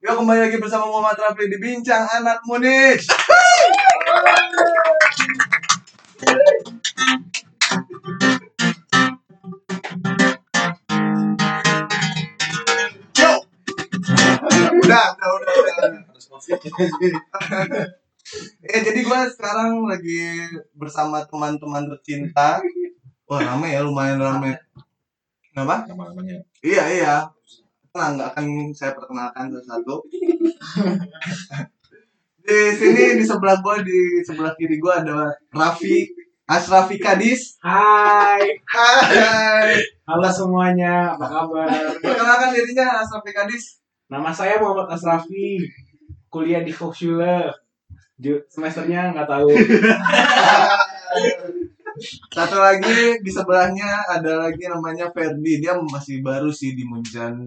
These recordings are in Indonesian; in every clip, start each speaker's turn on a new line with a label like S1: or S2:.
S1: kembali lagi bersama Muhammad Rafli di Bincang Anak Munis. Yo. udah, udah, udah, udah. Eh, jadi gue sekarang lagi bersama teman-teman tercinta. Wah, rame ya, lumayan rame. Kenapa?
S2: Nama-namanya.
S1: Iya iya. Tenang nggak akan saya perkenalkan satu-satu. di sini di sebelah gua di sebelah kiri gua ada Raffi Asrafi Kadis.
S3: Hai,
S1: Hai.
S3: halo semuanya, apa kabar?
S1: Perkenalkan dirinya Asrafi Kadis.
S3: Nama saya Muhammad Asrafi, kuliah di Hochschule. Ju- Semesternya nggak tahu.
S1: Satu lagi di sebelahnya ada lagi namanya Ferdi. Dia masih baru sih di Munjan.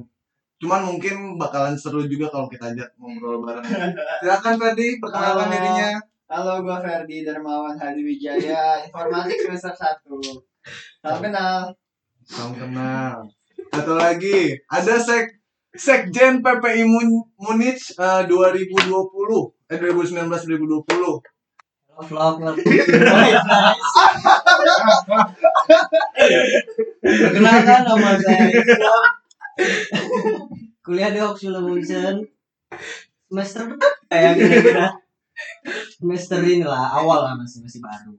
S1: Cuman mungkin bakalan seru juga kalau kita ajak ngobrol bareng. Silakan Ferdi, perkenalkan
S4: Halo.
S1: dirinya.
S4: Halo, gue Ferdi Dermawan Hadiwijaya, informatik semester 1. Salam kenal.
S1: Salam kenal. Satu lagi, ada sek Sekjen PPI Mun Munich eh, 2020 eh 2019 2020.
S4: Vlog, vlog. Perkenalkan nama saya Islam. Kuliah di Oxford Munchen. Semester berapa ya kira-kira? Semester inilah, awal lah masih masih baru.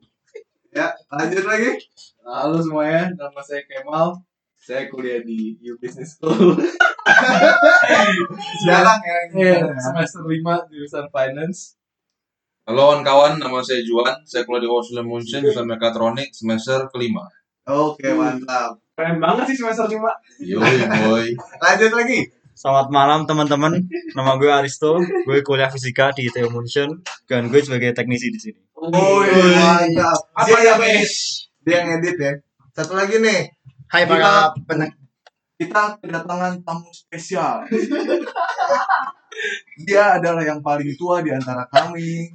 S1: Ya, lanjut lagi.
S5: Halo semuanya, nama saya Kemal. Saya kuliah di U Business School.
S1: Sekarang ya.
S5: eh, semester 5 jurusan Finance.
S2: Halo kawan-kawan, nama saya Juan. Saya kuliah di Washington Munchen, jurusan mekatronik, semester kelima.
S1: Oke, mantap.
S3: Keren banget sih semester 5.
S2: Yoi boy.
S1: Lanjut lagi.
S6: Selamat malam teman-teman. Nama gue Aristo. Gue kuliah fisika di ITU München dan gue sebagai teknisi di sini.
S1: Oh,
S5: iya.
S1: mantap. dia
S3: Apa ya,
S1: yang
S3: namanya?
S1: edit, dia yang edit ya. Satu lagi nih,
S6: Hai
S1: para
S6: pendengar.
S1: kita kedatangan tamu spesial. Dia adalah yang paling tua di antara kami.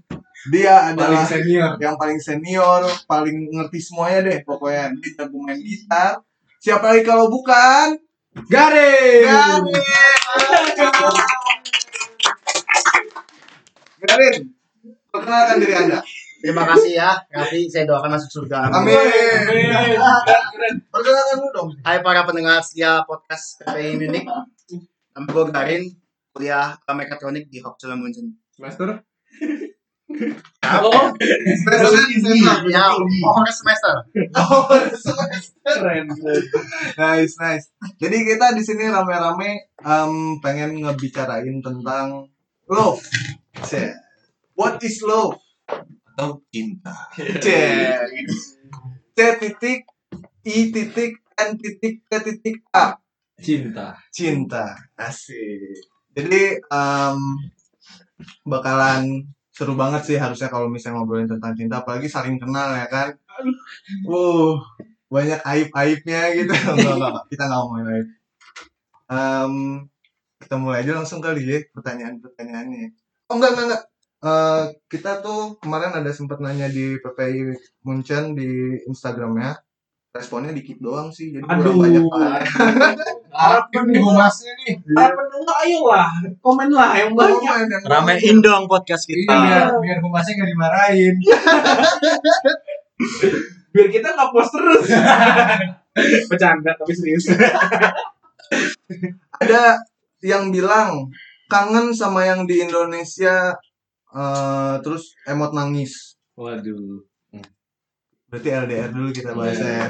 S1: Dia adalah
S5: Paling senior.
S1: yang paling senior, paling ngerti semuanya deh pokoknya. Dia jago main gitar. Siapa lagi kalau bukan?
S5: Garing!
S1: Garin. Garin, perkenalkan diri Anda.
S6: Terima kasih ya. Nanti saya doakan masuk surga.
S1: Amin. Perkenalkan dulu dong.
S6: Hai para pendengar setia podcast PPI Munich. Nama gue Garin. Kuliah eh, mekatronik di Hochschule München.
S5: Semester?
S3: Oh,
S1: Spesialnya di senior.
S6: Ya, pokoknya semester.
S1: Oh,
S3: keren.
S1: nice, nice. Jadi kita di sini rame-rame em, pengen ngebicarain tentang love. Cek. What is love?
S2: Atau cinta.
S1: C C titik I titik N titik T titik A
S5: Cinta.
S1: cinta asik jadi em, bakalan seru banget sih harusnya kalau misalnya ngobrolin tentang cinta apalagi saling kenal ya kan uh banyak aib aibnya gitu enggak enggak enggak. kita nggak ngomongin aib Em, kita mulai aja langsung kali ya pertanyaan pertanyaannya oh enggak enggak enggak Eh, kita tuh kemarin ada sempat nanya di PPI Munchen di Instagramnya responnya dikit doang sih jadi kurang
S3: Aduh.
S1: banyak banget
S3: Para pendengar, para pendengar ayolah, komen lah yang banyak.
S1: Komen yang
S6: Ramein dong podcast kita.
S3: biar-
S5: biar humasnya gak dimarahin.
S3: Biar kita nggak post terus. Bercanda tapi serius.
S1: ada yang bilang kangen sama yang di Indonesia eh, terus emot nangis.
S5: Waduh.
S1: Berarti LDR dulu kita bahasnya. ya.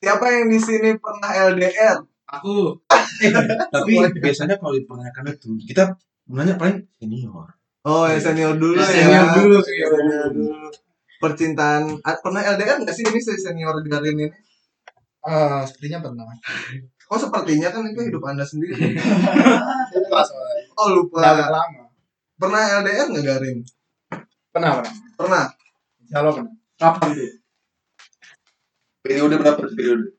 S1: Siapa yang di sini pernah LDR?
S5: Aku.
S2: Tapi biasanya kalau dipertanyakan itu, kita nanya paling senior.
S1: Oh, yang senior dulu ya.
S5: Nah, iya. Senior dulu. senior dulu.
S1: Senior dulu. Percintaan ah, pernah LDR nggak sih ini si senior Garin ini?
S6: Eh, sepertinya pernah.
S1: Oh, sepertinya kan itu hidup Anda sendiri.
S6: Lupa soalnya.
S1: Oh,
S6: Udah
S1: lupa.
S6: lama.
S1: Pernah LDR nggak Garin?
S5: Pernah, pernah.
S1: Pernah.
S5: Kalau pernah. Kapan tuh?
S2: Periode berapa periode?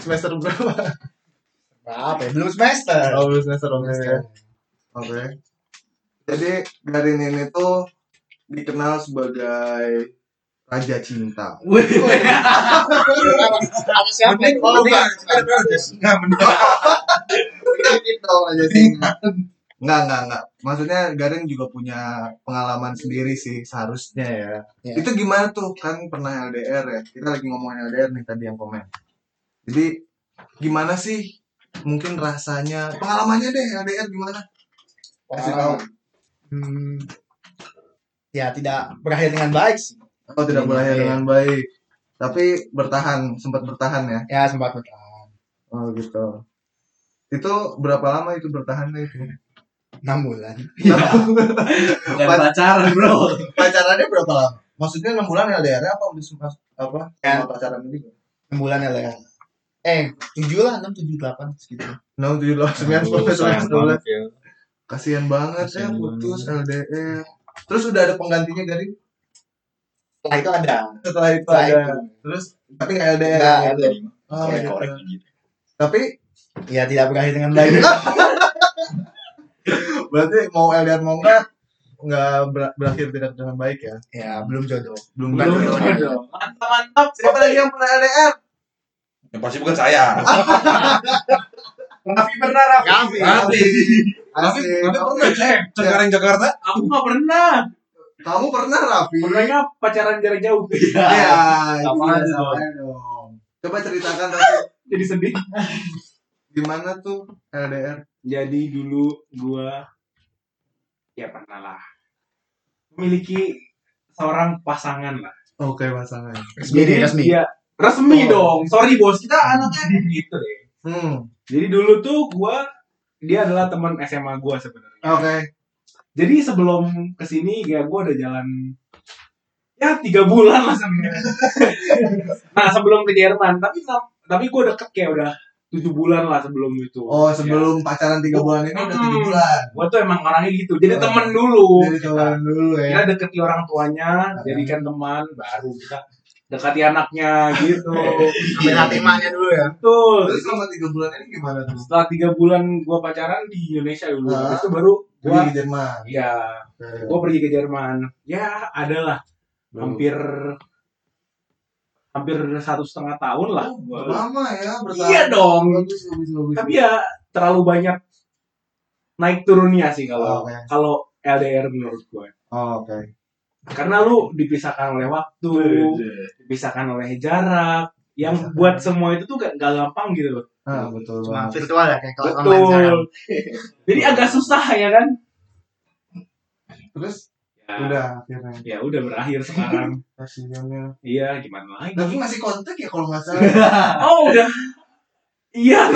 S6: Semester berapa? Berapa? ya? Belum semester.
S1: Oh, belum semester belum semester. Oke. Jadi Garin ini tuh dikenal sebagai raja cinta.
S6: Apa siapa?
S2: Mending, mending,
S6: Oh, bukan.
S2: mending, mending, mending, mending.
S6: skip
S1: Gitu,
S6: dong aja sih.
S1: Enggak, enggak, enggak. Maksudnya Garin juga punya pengalaman sendiri sih seharusnya ya.
S6: Iya.
S1: Itu gimana tuh? Kan pernah LDR ya. Kita lagi ngomongin LDR nih tadi yang komen. Jadi gimana sih mungkin rasanya pengalamannya deh LDR gimana? Kasih tahu.
S6: Hmm. Ya tidak berakhir dengan baik sih.
S1: Oh, tidak
S6: Iya.
S1: berakhir dengan baik. Tapi bertahan, sempat bertahan ya.
S6: Ya sempat bertahan.
S1: Oh, gitu. Itu berapa lama itu bertahan nih?
S6: 6 bulan.
S4: Bukan pacaran bro.
S1: Pacarannya berapa lama? Maksudnya 6 bulan LDR -nya apa udah sempat apa?
S6: Ya.
S1: Sama pacaran juga.
S6: 6 bulan ya lah. Eh, 7 lah, 6, 7, 8 segitu.
S1: 6, 7, 8, 9, 10, 11, 12.
S6: ya.
S1: Kasihan banget ya
S5: Kasihan
S1: putus LDR. Terus udah ada penggantinya dari
S6: Setelah itu ada.
S1: setelah itu
S6: Setelah
S1: ada.
S6: itu.
S1: Terus tapi nggak
S7: Iya,
S1: LDR.
S6: Nggak
S1: gitu.
S6: LDR.
S1: Oh, gitu.
S5: Korek-korek gitu.
S1: Tapi
S7: Iya,
S6: Ya tidak berakhir dengan baik.
S1: berarti mau LDR mau nggak nggak ber- berakhir tidak dengan baik ya.
S6: ya, belum jodoh.
S1: Belum
S3: Bukan
S1: jodoh.
S3: jodoh. Mantap mantap.
S1: Siapa lagi yang pernah LDR?
S2: Ya, pasti bukan saya.
S3: Raffi pernah Raffi.
S6: Raffi.
S2: Nanti.
S1: Asik.
S2: pernah cek. Cengkareng Jakarta.
S3: Eh, Aku nggak pernah.
S1: Kamu pernah Raffi?
S3: Pernahnya pacaran jarak jauh. Iya.
S1: Ya, itu
S6: Sama aja
S1: biasanya dong. Coba ceritakan Raffi,
S3: Jadi sedih.
S1: gimana tuh LDR?
S3: Jadi dulu gua ya pernah lah memiliki seorang pasangan lah.
S1: Oke pasangan.
S6: Resmi,
S3: Jadi
S6: resmi.
S3: dia- resmi
S6: Oh.
S3: dong. Sorry bos, kita anaknya gitu deh.
S1: Hmm,
S3: Jadi dulu tuh gua dia adalah teman SMA gua sebenarnya.
S1: oke.
S3: Jadi sebelum kesini ya gue udah jalan ya tiga bulan lah sebenarnya. nah sebelum ke Jerman, tapi tapi gue deket kayak udah tujuh bulan lah sebelum itu.
S1: Oh, sebelum pacaran 3 bulan ini udah 7
S3: Hmm.
S1: bulan.
S3: Gue tuh emang orangnya gitu, jadi
S1: Oh.
S3: temen dulu.
S1: Jadi Nah. cobain dulu ya.
S3: Kita deketi orang tuanya, jadikan teman, baru kita dekati anaknya gitu.
S6: Ambil hati
S2: Iya.
S6: emaknya dulu ya.
S3: Betul.
S1: Terus selama 3 bulan ini gimana tuh?
S3: Setelah tiga bulan gue pacaran di Indonesia dulu,
S1: Ah.
S3: habis itu baru
S1: Gue
S3: gue
S1: di Jerman.
S3: ya gue pergi ke Jerman ya adalah hampir hampir satu setengah tahun lah
S1: Oh,
S3: gua.
S1: lama ya bertahan.
S3: iya dong
S1: Bagus, bagus, bagus.
S3: tapi ya terlalu banyak naik turunnya sih
S1: Oh,
S3: kalau
S1: oke.
S3: kalau LDR menurut gue
S1: Oh, oke.
S3: karena lu dipisahkan oleh waktu dipisahkan oleh jarak yang
S1: Dipisahkan.
S3: buat semua itu tuh gak, gak gampang gitu loh
S1: Ah, betul
S6: Cuma
S1: banget.
S6: virtual ya kayak kalau online sekarang.
S3: betul jadi agak susah ya kan
S1: Terus
S3: ya,
S1: udah akhirnya
S3: ya udah berakhir sekarang
S1: kasihannya.
S3: iya gimana lagi
S1: Tapi masih kontak ya kalau nggak salah.
S3: Oh udah. Iya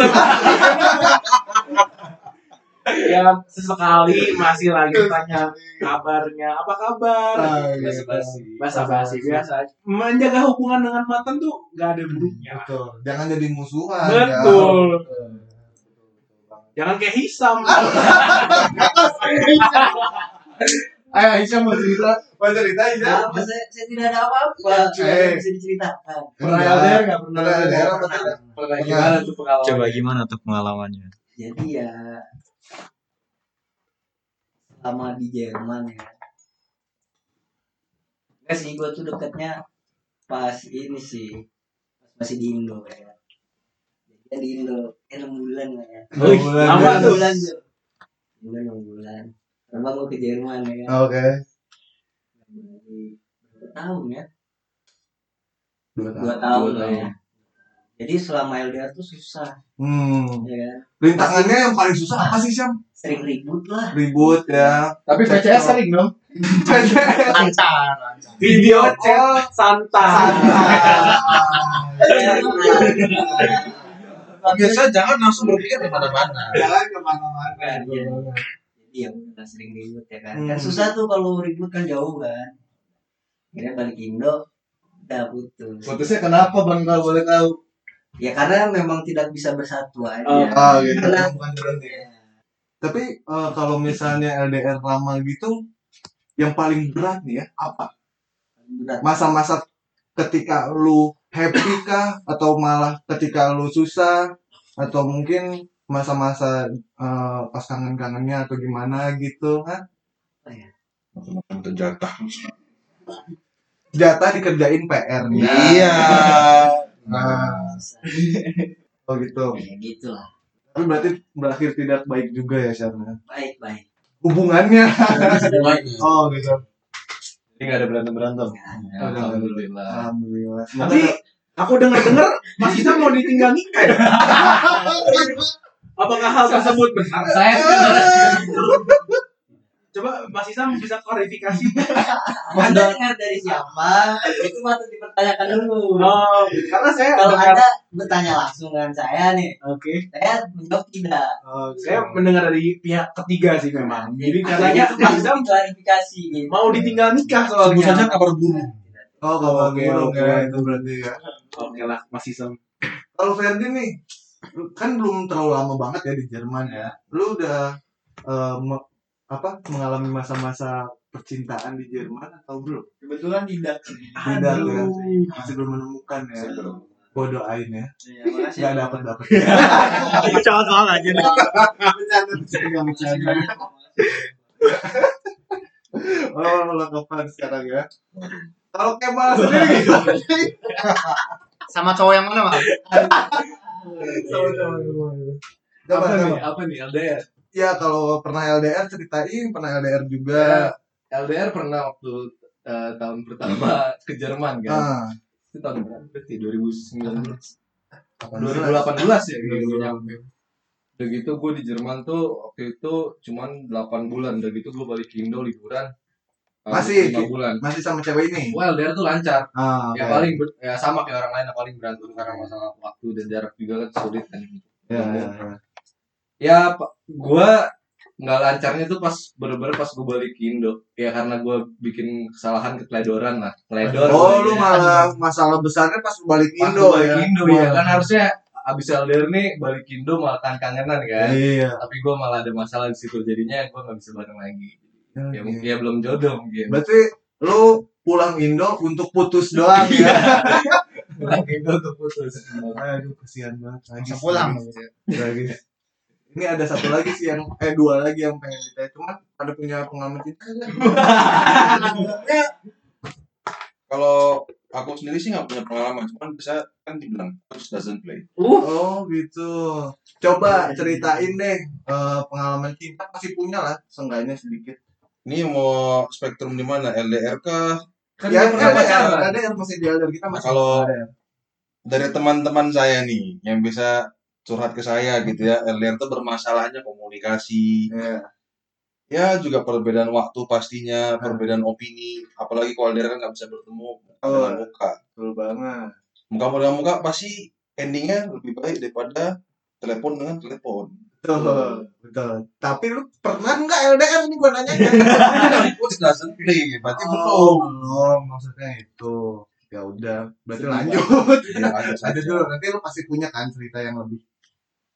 S3: tapi ya sesekali masih lagi tanya kabarnya apa kabar
S1: Ah, iya.
S3: basa-basi basa-basi biasa menjaga hubungan dengan mantan tuh nggak ada buruknya lah.
S1: Betul. Jangan jadi musuhan. ya.
S3: betul
S1: Betul, betul, betul banget.
S3: jangan kayak hisam
S1: Ayo Eh, Aisyah mau cerita, ya. mau cerita Aisyah.
S4: Apa saya, saya tidak ada apa-apa. Cuma
S1: Eh.
S4: bisa diceritakan.
S1: Pernah LDR nggak pernah LDR apa tidak?
S3: gimana tuh pengalaman
S5: Coba gimana tuh pengalamannya?
S4: Jadi ya selama di Jerman ya. Enggak sih gua tuh deketnya pas ini sih pas masih di Indo ya. Jadi di Indo ya, 6 bulan lah ya.
S3: Wih, lama
S4: Enam
S1: gitu.
S3: tuh
S4: bulan tuh. Indo 6 bulan. Terbang gua ke Jerman ya.
S1: Oke.
S4: Dari berapa tahun ya?
S1: Dua
S4: Dua tahun lah ya. Jadi selama LDR tuh susah
S1: Hmm.
S4: ya kan.
S1: Rintangannya yang paling susah apa sih Syam?
S4: Sering ribut lah.
S1: Ribut ya.
S6: Tapi
S1: PCS
S6: sering dong. Lancar, lancar.
S3: video chat santai
S2: Ya, Biasa jangan langsung berpikir kemana-mana.
S1: Jalan kemana-mana.
S4: Iya. Jadi ya udah sering ribut ya kan. Kan
S1: Hmm.
S4: susah tuh kalau ribut kan jauh kan. Akhirnya balik Indo udah putus.
S6: Putusnya kenapa Bang kalau boleh tahu?
S4: Ya karena memang tidak bisa bersatu aja.
S1: Oh gitu.
S4: Karena
S1: Bukan berhenti. Tapi eh, kalau misalnya LDR lama gitu, yang paling berat nih ya apa?
S4: berat.
S1: Masa-masa ketika lu happy kah atau malah ketika lu susah atau mungkin masa-masa eh, pas kangen-kangennya atau gimana gitu kan
S2: Untuk jatah.
S1: jatah dikerjain PR nih
S2: Iya.
S1: nah,
S4: susah.
S1: oh gitu
S4: Ya gitu lah.
S1: Tapi berarti berakhir tidak baik juga ya Syarna.
S4: baik baik
S1: Hubungannya.
S2: Semuanya.
S1: Oh gitu.
S5: Jadi nggak ada berantem berantem.
S1: Ya,
S5: Alhamdulillah.
S1: Alhamdulillah. Semoga
S3: Tapi aku dengar dengar Mas Isa mau ditinggal nikah ya. Apakah hal tersebut benar?
S4: saya
S3: Coba Mas Isa bisa klarifikasi.
S4: anda dengar dari siapa itu patut dipertanyakan dulu
S3: Oh, karena saya
S4: kalau
S3: dengar-
S4: anda bertanya langsung dengan saya nih
S3: Oke.
S4: saya menjawab tidak
S3: Oh, saya mendengar dari pihak ketiga sih memang. Jadi katanya
S4: Itu
S3: Mas
S4: harus
S3: Isa
S4: diklarifikasi gitu
S3: mau ditinggal nikah
S2: Sebut saja
S3: soalnya.
S2: kabar burung.
S1: Oh kalau
S3: Oke,
S1: okay,
S3: oke.
S1: itu berarti ya.
S3: Oke lah, Mas Isa.
S1: Kalau Ferdi nih kan belum terlalu lama banget ya di Jerman ya. Lu udah eh, me- apa mengalami masa-masa percintaan di Jerman atau belum?
S5: Kebetulan tidak.
S1: Tidak ya. Masih belum menemukan ya. Bodoh ain ya.
S5: Iya,
S1: Enggak dapat dapat.
S6: Cowok-cowok aja.
S1: Oh, lengkapan sekarang ya. Kalau Kemal sendiri gimana sih?
S6: Sama cowok yang mana, Bang?
S1: Sama-sama. Coba,
S3: kan
S5: Apa nih?
S1: coba.
S5: Apa nih? LDR.
S1: Ya kalau pernah LDR ceritain, pernah LDR juga.
S5: LDR pernah waktu eh, tahun pertama ke Jerman kan.
S1: Ah,
S5: Itu tahun berapa berarti? 2019.
S1: 18.
S5: 2018 ya. Gitu. Udah gitu gue di Jerman tuh waktu itu cuman 8 bulan. Udah gitu gue balik ke Indo liburan. eh,
S1: Masih?
S5: 5 bulan.
S1: Masih sama cewek ini.
S5: Gue LDR tuh lancar.
S1: Ah, oke.
S5: Ya paling ber- ya sama kayak orang lain ya, paling berantem karena masalah waktu dan jarak juga kan sulit kan.
S1: Ya, ya, ya.
S5: Ya pa- gua nggak lancarnya tuh pas bener-bener pas gue balik ke Indo ya karena gua bikin kesalahan keteledoran lah teledor
S1: Oh,
S5: gua
S1: lu
S5: ya.
S1: malah masalah besarnya pas balik
S5: Pas
S1: Indo
S5: gua balik
S1: ya.
S5: ke Indo ya kan harusnya abis LDR nih balik ke Indo malah kan kangenan kan
S1: Iya.
S5: tapi gua malah ada masalah di situ jadinya gua nggak bisa bareng lagi ya, mungkin
S1: Oke.
S5: ya belum jodoh mungkin
S1: iya. Berarti lu pulang Indo untuk
S5: Iya.
S1: putus doang ya.
S5: Pulang ke Indo tuh putus
S1: Aduh, kesian banget. Lagi
S6: Masa pulang.
S1: lagi ini ada satu lagi sih yang eh dua lagi yang pengen ditanya cuman ada punya pengalaman cinta nggak?
S2: Kalau aku sendiri sih nggak punya pengalaman, cuman bisa kan dibilang coach doesn't play.
S1: oh gitu
S5: Iya,
S1: coba ceritain deh eh, pengalaman cinta pasti punya lah seenggaknya sedikit
S2: Ini mau spektrum di mana? LDR kah?
S5: kan
S1: ya
S5: dia pernah
S1: LDR
S5: pacaran
S1: ada yang masih di LDR kita masih
S2: Kalau-
S1: LDR.
S2: Dari teman-teman saya nih yang bisa curhat ke saya gitu ya. LDR tuh bermasalahnya komunikasi.
S1: Iya.
S2: Ya juga perbedaan waktu pastinya, perbedaan opini. Apalagi kalau LDR kan nggak bisa bertemu muka
S1: Hmm. Oh.
S2: dengan muka.
S1: betul banget
S2: Muka dengan muka pasti endingnya lebih baik daripada telepon dengan telepon.
S1: betul betul tapi lu pernah nggak LDR ini gua nanya
S2: Coach kan doesn't play, berarti belum.
S1: oh, belum maksudnya itu ya udah berarti lanjut
S2: Ya, ada
S1: ada
S2: saja.
S1: dulu nanti lu pasti punya kan cerita yang lebih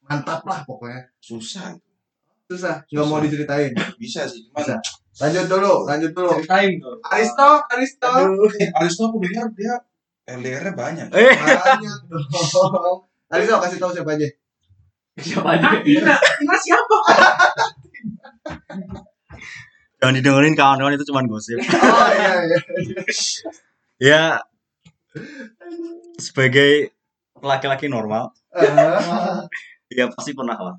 S1: mantap lah pokoknya
S2: Susah.
S1: susah nggak mau
S2: Susah.
S1: diceritain
S2: Bisa sih, cuman
S1: Bisa. lanjut dulu lanjut dulu
S5: ceritain tuh
S1: Aristo Aristo
S2: Eh, Aristo aku dengar dia LDR-nya banyak.
S6: Eh,
S1: banyak dong Aristo kasih tahu siapa aja
S5: siapa aja
S3: Tina iya. siapa?
S6: Jangan didengerin kawan-kawan itu cuma gosip.
S1: oh iya iya
S6: Ya sebagai laki-laki normal,
S1: Ah,
S6: ya pasti pernah lah.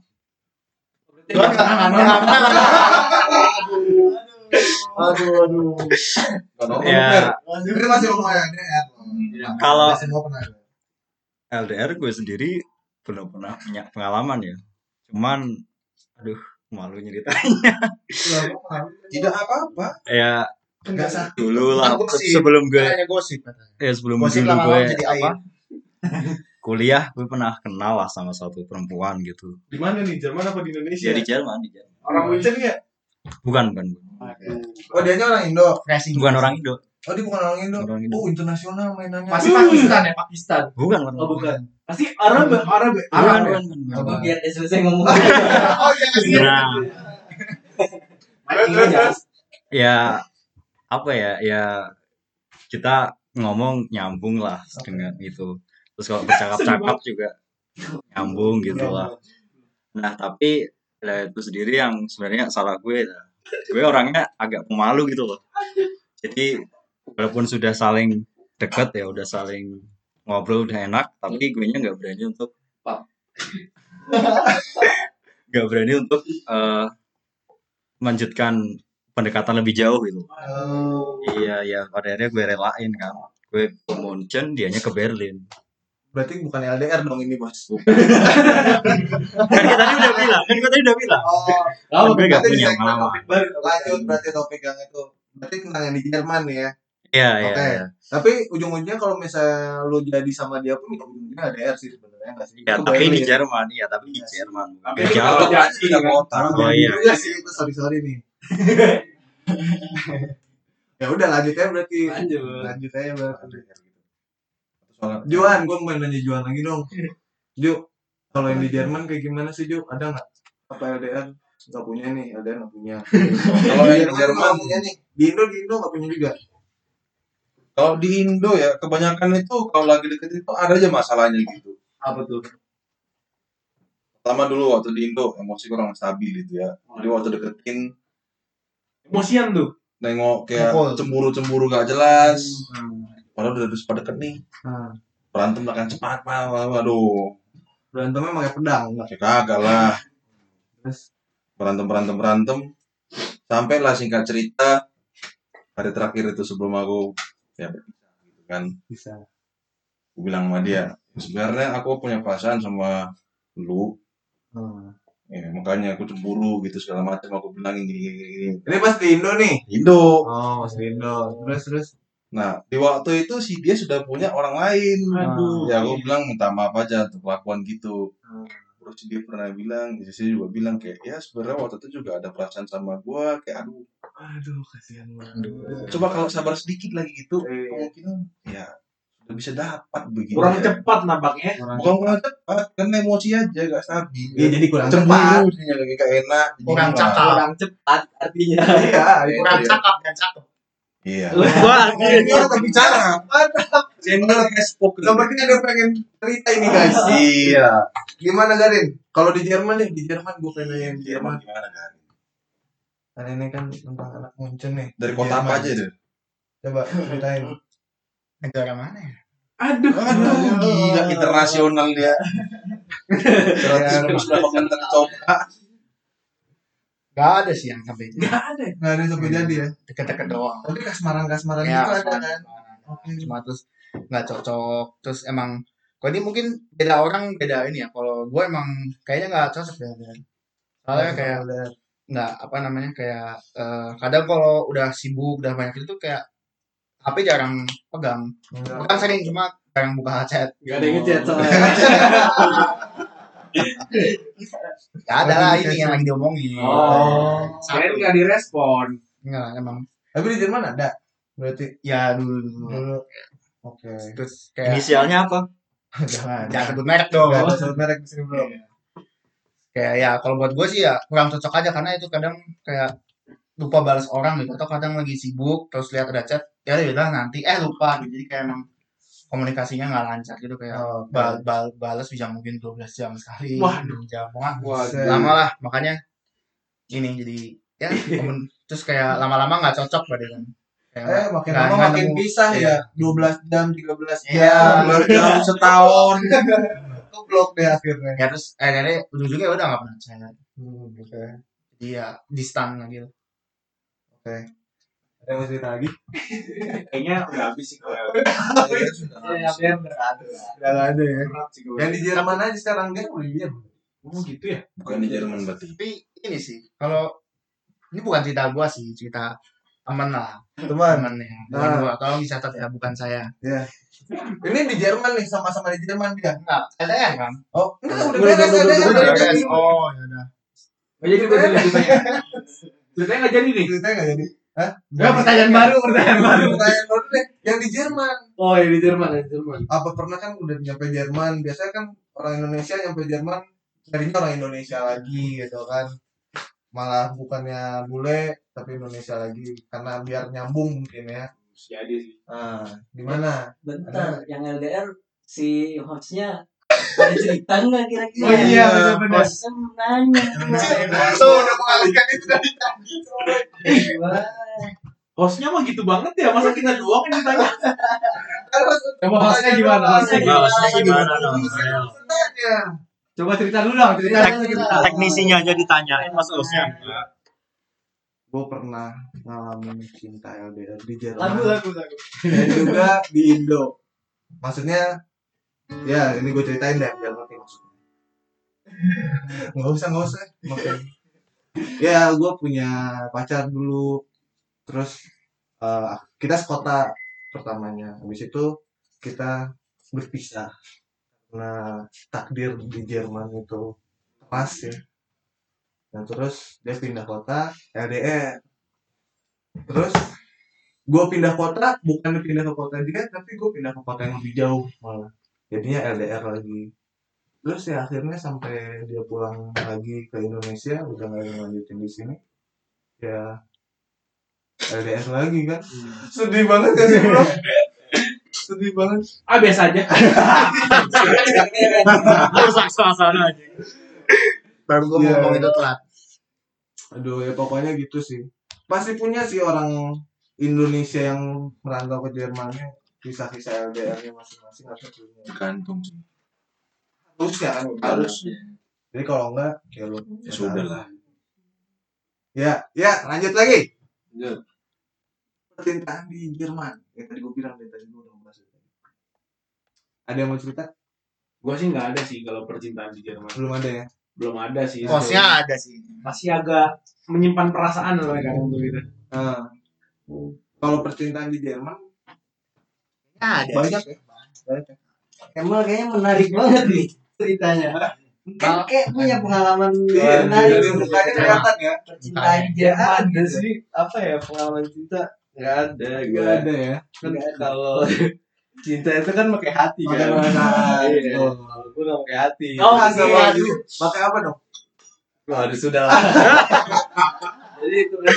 S1: aduh aduh
S2: Gak tau
S6: Ya.
S2: kan,
S1: ini masih lumayan ya
S6: Kalau-
S1: Masih mau pernah
S6: LDR gue sendiri belum pernah punya pengalaman ya. Cuman aduh malu nyeritanya.
S2: Tidak apa-apa.
S6: ya
S1: nggak sakit
S6: dulu lah Bukan gosip. sebelum gue Hanya gosip katanya. ya sebelum Gosip dulu lama-lama gue jadi apa kuliah gue pernah kenal lah sama satu perempuan gitu
S5: di mana nih Jerman apa di Indonesia
S6: ya di Jerman di Jerman
S5: orang Munchen ya
S6: bukan bukan
S1: oh dia orang Indo
S6: bukan orang Indo
S1: oh dia bukan orang Indo
S6: Bukan orang Indo.
S1: oh internasional mainannya
S5: pasti Pakistan ya Pakistan
S6: bukan orang
S3: Oh,
S6: Indo.
S3: bukan. Pasti Arab, Arab.
S6: bukan
S5: Arab ya?
S6: bukan, bukan,
S1: Apa?
S6: bukan.
S4: biar dia selesai ngomong
S1: oh iya iya.
S6: nah
S3: Mati aja.
S6: ya apa ya ya kita ngomong nyambung lah dengan itu terus kalau bercakap-cakap juga nyambung gitu lah nah tapi ya, itu sendiri yang sebenarnya salah gue ya. gue orangnya agak pemalu gitu loh jadi walaupun sudah saling deket ya udah saling ngobrol udah enak tapi gue nya nggak berani untuk nggak berani untuk eh, melanjutkan pendekatan lebih jauh gitu iya iya pada akhirnya gue relain kan gue ke Munchen dianya ke Berlin
S1: Berarti bukan LDR dong ini, Bos.
S6: kan kita tadi udah bilang kan kita tadi udah bilang
S1: Oh,
S6: kan gue nggak
S1: berarti
S6: punya
S1: segmen
S6: pengalaman
S1: topik baru. Lanjut berarti topik yang itu. Berarti tentang yang di Jerman nih ya.
S6: iya iya
S1: Oke.
S6: iya.
S1: Tapi ujung-ujungnya kalau misalnya lu jadi sama dia pun ya ujung-ujungnya LDR sih sebenarnya nggak sih?
S6: ya
S1: Itu
S6: tapi di
S1: Berlin.
S6: Jerman iya tapi di
S1: Iya sih.
S6: Jerman
S3: Tapi
S6: Nggak
S3: itu Iya,
S2: Kalau
S6: jauh
S2: Prancis
S3: iya.
S2: udah kota.
S1: Baru
S6: Oh,
S1: jadi
S6: iya.
S1: juga sih itu sorry sorry nih. ya udah lanjut aja berarti.
S5: Lanjut.
S1: Lanjut aja berarti.
S2: Soalnya-
S1: Juan, gue mau nanya Juan lagi dong. Ju, kalau yang di Jerman kayak gimana sih Ju? Ada nggak? Apa LDR? Gak punya nih, LDR gak punya.
S2: Kalau yang di Jerman,
S1: nggak punya nih. Di Indo, di Indo gak punya juga.
S2: kalau di Indo ya kebanyakan itu kalau lagi deket itu ada aja masalahnya gitu.
S3: apa tuh
S2: Pertama dulu waktu di Indo emosi kurang stabil gitu ya. Jadi waktu deketin
S3: emosian tuh
S2: nengok kayak
S1: Mukul.
S2: cemburu-cemburu gak jelas. Padahal udah habis pada deket nih.
S1: Hmm.
S2: Berantem akan cepat, mah. Waduh,
S1: Berantemnya pakai pedang. nggak?
S2: kayak Ya kagak lah.
S1: Terus,
S2: berantem berantem berantem sampailah singkat cerita hari terakhir itu sebelum aku ya berpisah gitu kan
S1: bisa.
S2: aku bilang sama dia sebenarnya aku punya perasaan sama lu
S1: Hmm.
S2: ya, makanya aku cemburu gitu segala macam aku bilang gini gini, gini gini
S1: Ini pas di Indo nih.
S2: Indo
S1: Oh, pas di Indo. Terus, terus.
S2: nah di waktu itu si dia sudah punya orang lain
S3: aduh
S2: ya aku bilang minta maaf aja untuk kelakuan gitu
S1: Hmm.
S2: terus dia pernah bilang istri juga bilang kayak ya sebenarnya waktu itu juga ada perasaan sama gua kayak aduh
S1: Aduh, kasihan banget.
S6: Aduh.
S2: coba kalau sabar sedikit lagi gitu
S1: Eh,
S2: kemungkinan ya sudah bisa dapat begini
S3: kurang
S5: Iya.
S2: ya.
S3: cepat nampaknya
S1: orang-
S2: bukan kurang cepat karena emosi aja gak stabil
S1: Iya, jadi kurang cepat.
S2: cemburu jadinya lagi gak enak
S7: Kurang
S2: Gimana?
S7: cakap.
S4: Kurang cepat artinya.
S1: Iya,
S2: Iya,
S7: Kurang
S2: iya.
S7: cakap dan cakep.
S2: iya
S6: Wah,
S1: ini orang berbicara. Mantap.
S2: channel kayak spoken
S1: Sepertinya ada yang pengen cerita ini, guys.
S2: iya
S1: Gimana, Garin? Kalau di Jerman nih, di Jerman gue pengen nanya yang di Jerman.
S2: Jerman gimana kan
S1: Karena ini kan tentang anak Munchen nih.
S2: dari
S1: Di
S2: kota apa
S1: Jerman.
S2: aja deh
S1: Coba ceritain.
S7: Negara mana ya?
S3: aduh
S2: aduh gila internasional dia seratus
S1: Iya,
S2: plus berapa kali coba
S7: Gak ada sih yang sampai itu.
S3: nggak ada
S1: Nggak ada yang sampai jadi ya.
S7: Deket-deket doang.
S1: Tapi kasmaran-kasmaran
S7: Ya,
S1: gitu ada
S7: cuma-
S1: kan. Oke.
S7: Cuma terus nggak cocok. Terus emang kalau ini mungkin beda orang beda ini ya. Kalau gue emang kayaknya nggak cocok ya. Dan. Soalnya kayak nggak apa namanya kayak eh, kadang kalau udah sibuk udah banyak itu kayak HP jarang pegang. Pegang sering cuma jarang buka chat.
S3: nggak ada yang ngechat soalnya
S5: Oh.
S7: Gak Ya ada lah ini yang lagi diomongin.
S3: oh saya
S7: Satu.
S3: nggak direspon
S7: Enggak, emang
S1: Tapi di Jerman ada. Berarti
S7: ya dulu.
S1: dulu. Oke.
S7: Terus kayak
S6: inisialnya apa
S1: Jangan.
S7: jangan sebut merek dong.
S1: Nggak ada sebut merek di sini belum.
S7: kayak ya kalau buat gue sih ya kurang cocok aja karena itu kadang kayak lupa balas orang gitu atau kadang lagi sibuk terus lihat ada chat ya udah nanti eh lupa gitu jadi kayak emang komunikasinya nggak lancar gitu kayak
S1: Oh, oke.
S7: bal bal balas bisa mungkin 12 jam sekali
S3: Waduh.
S7: 6 jam wah
S1: Buset.
S7: lama lah makanya ini jadi ya komun- terus kayak lama-lama nggak cocok berarti kan Kayak
S1: Eh,
S7: nggak-
S1: makin
S7: nggak-
S1: lama
S7: nggak
S1: makin
S7: nemu.
S1: pisah
S7: Iya.
S1: ya. 12 jam, 13 jam.
S7: Iya.
S2: baru jam setahun
S1: Keblok deh akhirnya.
S7: ya terus akhirnya ujung-ujungnya ya udah nggak pernah chat
S1: Hmm, oke.
S7: jadi ya distant lagi gitu
S1: Ada yang mau cerita lagi?
S3: kayaknya udah habis sih kalau
S2: Iya, sudah.
S4: Yang berat.
S1: Udah nggak ada ya.
S3: berat sih kalau
S1: Yang di Jerman aja sekarang dia mau di Jerman.
S3: oh gitu ya
S2: bukan di
S5: Iya,
S2: Jerman berarti
S7: tapi ini sih kalau ini bukan cerita gua sih cerita temen lah
S1: Teman,
S7: temennya temen
S1: Ah.
S7: gua tolong dicatat ya bukan saya
S1: ini di Jerman nih sama-sama di Jerman dia.
S7: enggak LDR kan
S1: Oh, enggak udah
S3: Udah,
S1: beres
S3: udah,
S1: ada
S3: udah,
S1: yang
S3: udah, udah,
S1: beres.
S3: udah.
S7: oh ya udah
S3: nggak jadi gue jadi ceritanya ceritanya nggak jadi nih
S1: Ceritanya nggak jadi. Hah?
S7: ya pertanyaan baru pertanyaan baru
S1: Pertanyaan baru deh. Yang di Jerman.
S3: oh ya di Jerman ya di Jerman
S1: Apa pernah kan udah nyampe Jerman? Biasanya kan orang Indonesia nyampe Jerman carinya orang Indonesia lagi gitu kan. Malah bukannya bule tapi Indonesia lagi karena biar nyambung mungkin ya.
S3: jadi sih
S1: Ah, gimana?
S4: Bentar, yang LDR si hostnya ada cerita nggak kira-kira?
S1: Oh iya,
S4: benar-benar. Hostnya menanya.
S1: Lu udah mengalihkan itu dari tadi.
S4: Wah,
S3: hostnya mah gitu banget ya masa kita doang yang ditanya
S1: Kan harus
S3: Emang hostnya gimana? Hostnya
S6: Hostnya gimana dong?
S1: Tanya.
S5: Coba cerita dulu dong, cerita.
S7: Tek- teknisinya
S6: aja ditanyain mas Osnya
S1: gue pernah ngalamin cinta LDR di
S7: Lagu
S1: Jerman
S7: lagu lagu.
S1: dan juga di Indo. Maksudnya ya ini gue ceritain deh biar ngerti maksudnya. Nggak usah nggak usah. Maksudnya. Ya gue punya pacar dulu, terus eh, kita sekota pertamanya. Habis itu kita berpisah karena takdir di Jerman itu pas ya. Dan terus dia pindah kota LDR. Terus gue pindah kota bukan pindah ke kota dia tapi gue pindah ke kota yang lebih jauh malah jadinya LDR lagi terus ya akhirnya sampai dia pulang lagi ke Indonesia udah nggak ada yang lanjutin di sini ya LDR lagi kan sedih banget kan sih bro sedih banget
S3: Ah biasa aja.
S6: rusak suasana aja
S7: Baru gue
S1: Iya.
S7: ngomong itu telat.
S1: aduh ya pokoknya gitu sih pasti punya sih orang Indonesia yang merantau ke Jermannya kisah-kisah LDR-nya masing-masing harusnya punya
S2: Gantung.
S1: harusnya kan
S2: Harus.
S1: jadi kalau enggak ya lu
S2: Ya sudah lah.
S1: Ya, ya, lanjut lagi.
S2: Lanjut.
S1: Percintaan di Jerman. Yang tadi gue bilang dari tadi gue udah bahas itu. Ada yang mau cerita?
S3: Gue sih nggak ada sih kalau percintaan di Jerman.
S1: Belum ada ya.
S3: Belum ada sih.
S5: Iya.
S7: Kosnya ada sih.
S3: Masih agak menyimpan perasaan loh kan untuk itu.
S1: Nah, kalau percintaan di Jerman
S7: Nah, ada.
S1: banyak
S7: sih.
S1: ya. Banyak ya.
S4: Kemal kayaknya menarik banget nih ceritanya. Kan kayak punya pengalaman
S1: Iya,
S4: menarik
S1: dari mukanya kelihatan ya.
S4: percintaan di Jerman.
S5: Ada sih apa ya pengalaman cinta? Gak ada
S1: Enggak
S5: gue.
S1: ada ya.
S5: Kan kalau cinta itu kan pakai hati
S1: Pakai
S5: kan.
S1: perasaan.
S5: Iya.
S1: Tuh.
S5: Kalau gue gak pakai hati.
S1: Oh,
S5: Jadi-
S1: enggak
S7: iya,
S1: baju. Pakai apa dong?
S5: Waduh sudah lah. Jadi itu kan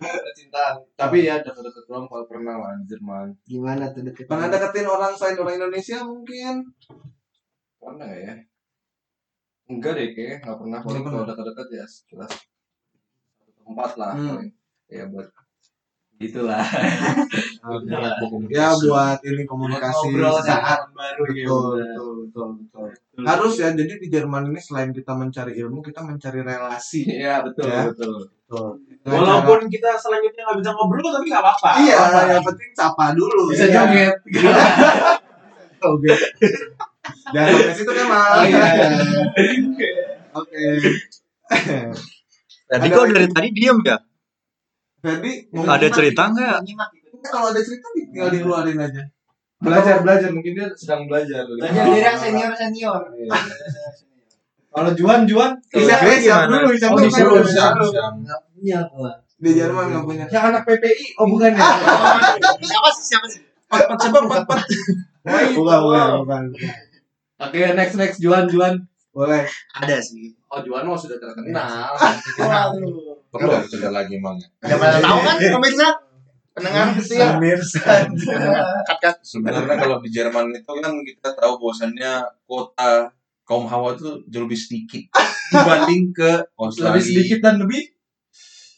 S5: percintaan. Tapi ya deket-deket doang kalau pernah lah di Jerman.
S4: Gimana tuh deket?
S1: Pernah deketin orang selain orang Indonesia mungkin?
S5: Pernah nggak ya? Enggak deh kayaknya nggak pernah. Paling
S1: Nggak
S5: kalau deket-deket ya sekilas satu tempat lah.
S1: Hmm.
S5: paling. Ya buat gitulah. Gitulah.
S1: Ya buat ini komunikasi
S5: Ngobrol
S1: saat
S5: sama orang baru gitu.
S1: betul, betul, betul, betul. Harus ya, jadi di Jerman ini selain kita mencari ilmu, kita mencari relasi.
S5: Iya betul
S1: Ya.
S5: betul.
S1: Betul. Dengan
S3: Walaupun kita selanjutnya nggak bisa ngobrol tapi nggak apa-apa.
S1: cara- iya, yang penting sapa dulu.
S5: Oh, Bisa
S1: Iya.
S5: joget.
S1: Oke. Jangan sampai situ kan malah.
S5: Oh, iya.
S1: Oke.
S6: tadi
S1: Ada
S6: kok
S1: lagi?
S6: dari tadi diem ya
S1: Jadi
S6: ada cerita nggak
S1: kalau ada cerita tinggal dikeluarin aja.
S5: Belajar belajar mungkin dia sedang belajar.
S4: Tanya dari yang senior senior.
S5: Iya. Kalau Juan Juan
S1: Isap dulu, isap
S6: gimana?
S1: dulu, isap
S5: Oh,
S1: dulu.
S5: bisa,
S1: Isap
S5: bisa.
S1: dulu.
S4: Gak punya gua.
S1: Di Jerman nggak punya.
S5: Yang anak PPI, oh bukan ya?
S7: Siapa sih siapa sih?
S1: Bukan, bukan, bukan.
S5: Oke, next next Juan Juan.
S1: Boleh.
S7: Ada sih.
S5: Oh Juan mah sudah terkenal.
S2: Perlu ada cerita lagi ya. emang.
S7: Udah pada tahu kan pemirsa? Pendengar
S1: Iya.
S7: pasti ya.
S1: Pemirsa.
S7: Kat kat.
S2: Sebenarnya kalau di Jerman itu kan kita tahu bahwasannya kota kaum Hawa itu jauh lebih sedikit dibanding ke
S5: Lebih
S2: Australia.
S5: sedikit dan lebih.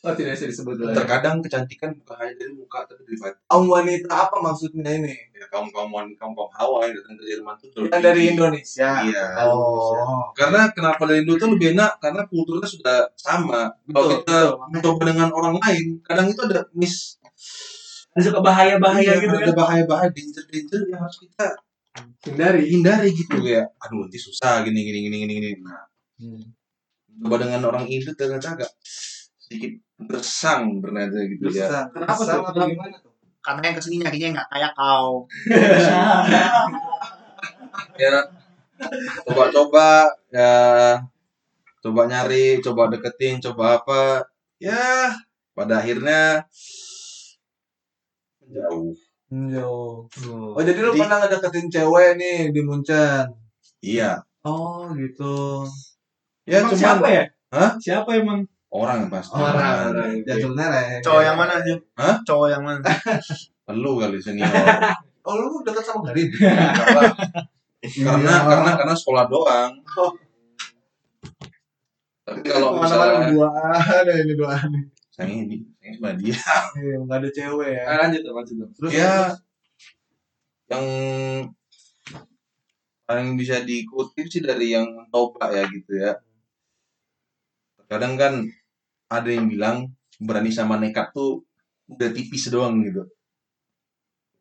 S5: Oh tidak bisa disebut lagi.
S2: Terkadang kecantikan bukan hanya dari muka tapi dari batin.
S1: Kaum wanita apa maksudnya ini?
S2: Ya, kaum kaum wanita, kaum kaum Hawa yang datang ke Jerman itu jauh
S1: Yang
S2: lebih-
S1: dari Indonesia.
S2: Iya.
S1: Oh.
S2: Karena kenapa dari Indo tuh lebih enak karena kulturnya sudah sama. Kalau
S1: Betul,
S2: kita mencoba dengan orang lain, kadang itu ada miss
S3: Ada suka bahaya-bahaya
S2: Iya,
S3: gitu kan.
S2: ada bahaya-bahaya danger danger yang harus kita
S5: Hindari.
S2: hindari gitu kayak aduh nanti susah gini gini gini gini gini. Nah,
S1: Hmm.
S2: coba dengan orang Indo ternyata agak sedikit bersang ternyata gitu ya.
S1: Susah.
S5: Kenapa
S1: Susah
S5: tuh?
S1: atau gimana tuh?
S7: Karena yang kesini nyarinya nggak kayak kau.
S2: ya coba-coba ya coba nyari coba deketin coba apa ya pada akhirnya jauh
S1: Hmm, Jauh. Oh
S6: Tuh.
S1: jadi lu
S2: Jadi-
S1: pernah ngedeketin cewek nih di Munchen?
S2: iya
S1: Oh gitu.
S2: ya
S3: Emang
S2: cuman
S3: siapa ya?
S2: Hah?
S3: Siapa emang?
S2: orang yang pasti
S1: Orang,
S2: Jatuh.
S1: Jatuhnya reng.
S7: Cowok yang mana sih?
S2: Hah?
S7: Cowok yang mana?
S2: perlu kali senior
S1: Oh lu deket sama Garin?
S2: karena karena
S1: Iya.
S2: karena karena sekolah doang
S1: Oh.
S2: tapi kalau
S1: Kemana-mana
S2: misalnya
S1: berdua ada ini dua nih.
S2: saya ini saya cuma dia
S1: Iya, Nggak ada cewek ya.
S5: Ah, lanjut dong, lanjut dong.
S1: Terus
S2: ya yang paling bisa dikutip sih dari yang mencoba ya gitu ya kadang kan ada yang bilang berani sama nekat tuh udah tipis doang gitu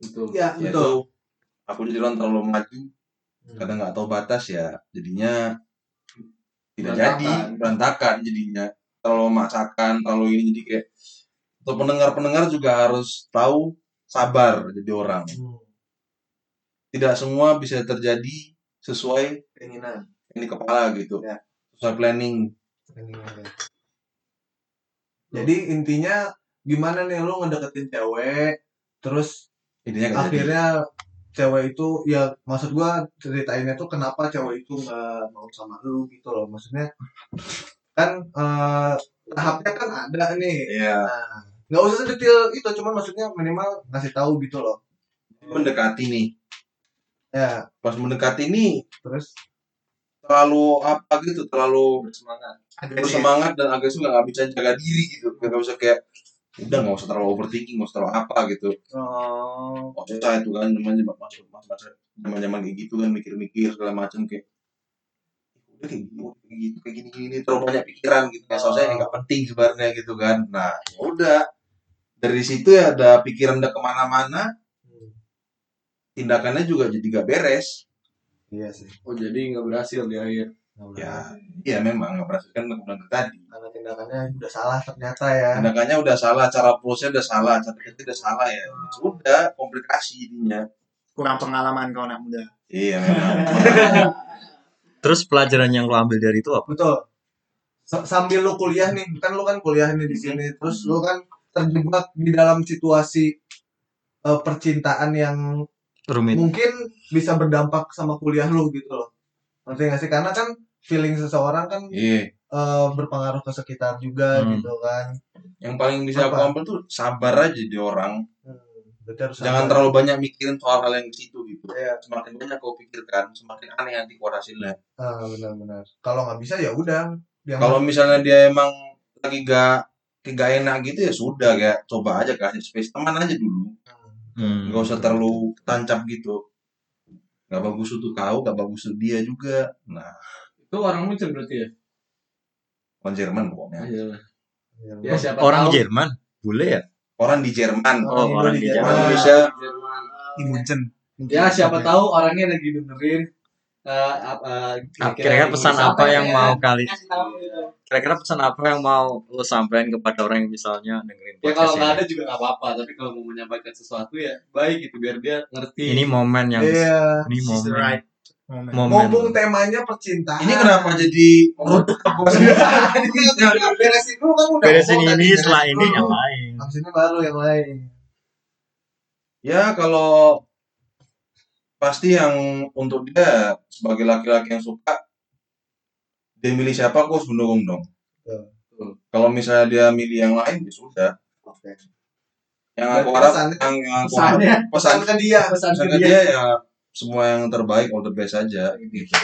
S5: Betul.
S1: ya betul
S2: yaitu Iya, aku jadi orang terlalu maju kadang nggak tahu batas ya jadinya tidak jadi
S5: Berantakan.
S2: berantakan jadinya terlalu memaksakan terlalu ini jadi kayak untuk pendengar pendengar juga harus tahu sabar jadi orang
S1: Hmm.
S2: tidak semua bisa terjadi sesuai
S1: keinginan
S2: ini kepala gitu
S1: Ya.
S2: sesuai planning
S1: jadi intinya gimana nih lu ngedeketin cewek terus
S2: idenya nggak jadi.
S1: akhirnya cewek itu ya maksud gua ceritainnya tuh kenapa cewek itu nggak mau sama lu gitu loh maksudnya kan eh, tahapnya kan ada nih
S2: Iya.
S1: Nah, nggak usah detail itu cuman maksudnya minimal ngasih tahu gitu loh
S2: mendekati nih
S1: ya
S2: pas mendekati nih
S1: terus
S2: terlalu apa gitu terlalu
S5: Bersemangat.
S2: terlalu semangat dan agresif nggak bisa jaga diri gitu nggak bisa kayak udah nggak usah terlalu overthinking nggak usah terlalu apa gitu
S1: eh,
S2: oh susah itu kan zaman zaman masuk masa zaman zaman kayak gitu kan mikir-mikir segala macam kayak udah kayak gini oh, kayak gitu kayak gini gini terlalu banyak pikiran gitu kayak soalnya yang nggak penting sebenarnya gitu kan nah ya udah dari situ ya ada pikiran udah kemana-mana tindakannya juga jadi gak beres
S1: iya sih
S5: Oh jadi nggak berhasil di akhir.
S2: ya ya memang nggak berhasil kan aku bilang tadi
S1: karena tindakannya udah salah ternyata ya
S2: tindakannya udah salah cara prosesnya udah salah cara kerja udah salah ya sudah komplikasi jadinya
S7: kurang pengalaman kau anak muda
S2: iya memang
S6: Terus pelajaran yang lo ambil dari itu apa?
S1: betul S- sambil lu kuliah nih kan lu kan kuliah nih di sini terus lu kan terjebak di dalam situasi eh, percintaan yang
S6: Rumit.
S1: mungkin bisa berdampak sama kuliah lu gitu loh ngerti gak sih karena kan feeling seseorang kan
S2: iya
S1: eh, berpengaruh ke sekitar juga
S6: Hmm.
S1: gitu kan
S2: yang paling bisa aku
S1: Apa?
S2: ambil tuh sabar aja jadi orang
S1: hmm, berarti harus sabar.
S2: jangan terlalu banyak mikirin soal hal yang itu gitu
S1: Iya.
S2: semakin banyak kau pikirkan semakin aneh nanti keluar hasilnya
S1: ah, benar-benar kalau nggak bisa ya udah yang
S2: kalau misalnya dia emang lagi gak gak enak gitu ya sudah ya coba aja kasih space teman aja dulu
S6: Hmm,
S2: nggak usah terlalu tancap gitu nggak bagus untuk kau nggak bagus untuk dia juga nah
S5: Itu orang Munchen berarti ya?
S2: orang Jerman pokoknya
S5: Iya. Ya
S1: ya,
S5: siapa
S6: Orang
S5: tahu.
S6: Jerman, bule ya?
S2: orang di Jerman
S6: Oh,
S1: Indo
S6: orang
S1: di
S6: di
S1: Jerman.
S2: orang
S6: Jerman.
S2: Indonesia
S5: Jerman.
S7: di Munchen
S5: Ya siapa tahu orangnya lagi dengerin. Eh, ap- eh,
S6: Ah, Kira-kira pesan
S5: Inggris
S6: apa yang
S5: ya?
S6: mau kali?
S8: kasih tahu gitu.
S6: Kira-kira pesan apa yang mau lo sampaikan kepada orang yang misalnya dengerin
S5: Ya
S6: podcast
S5: kalau nggak ada
S6: ini?
S5: juga nggak apa-apa. Tapi kalau mau menyampaikan sesuatu ya baik gitu biar dia ngerti.
S6: Ini momen yang
S1: iya
S6: ini
S7: she's the
S6: momen
S7: right moment
S6: momen.
S1: mumpung temanya percintaan
S2: ini kenapa jadi merodok apa semua
S1: Ini udah beresin dulu kan udah
S6: Beresin
S1: ngomong
S6: ini
S1: tadi,
S6: setelah
S1: beresin
S6: ini
S1: dulu.
S6: yang lain.
S1: Abis ini baru yang lain
S2: ya kalau pasti yang untuk dia sebagai laki-laki yang suka dia milih siapa aku harus mendukung dong
S1: Betul.
S2: kalau misalnya dia milih yang lain ya sudah
S1: oke
S2: yang
S1: Berarti
S2: aku harap
S1: pesannya-
S2: yang, yang aku harap
S5: Pesannya,
S2: pesan
S1: pesan ke dia
S5: pesan
S2: pesan
S5: ke
S2: ke
S5: dia.
S2: dia ya semua yang terbaik all the best aja gitu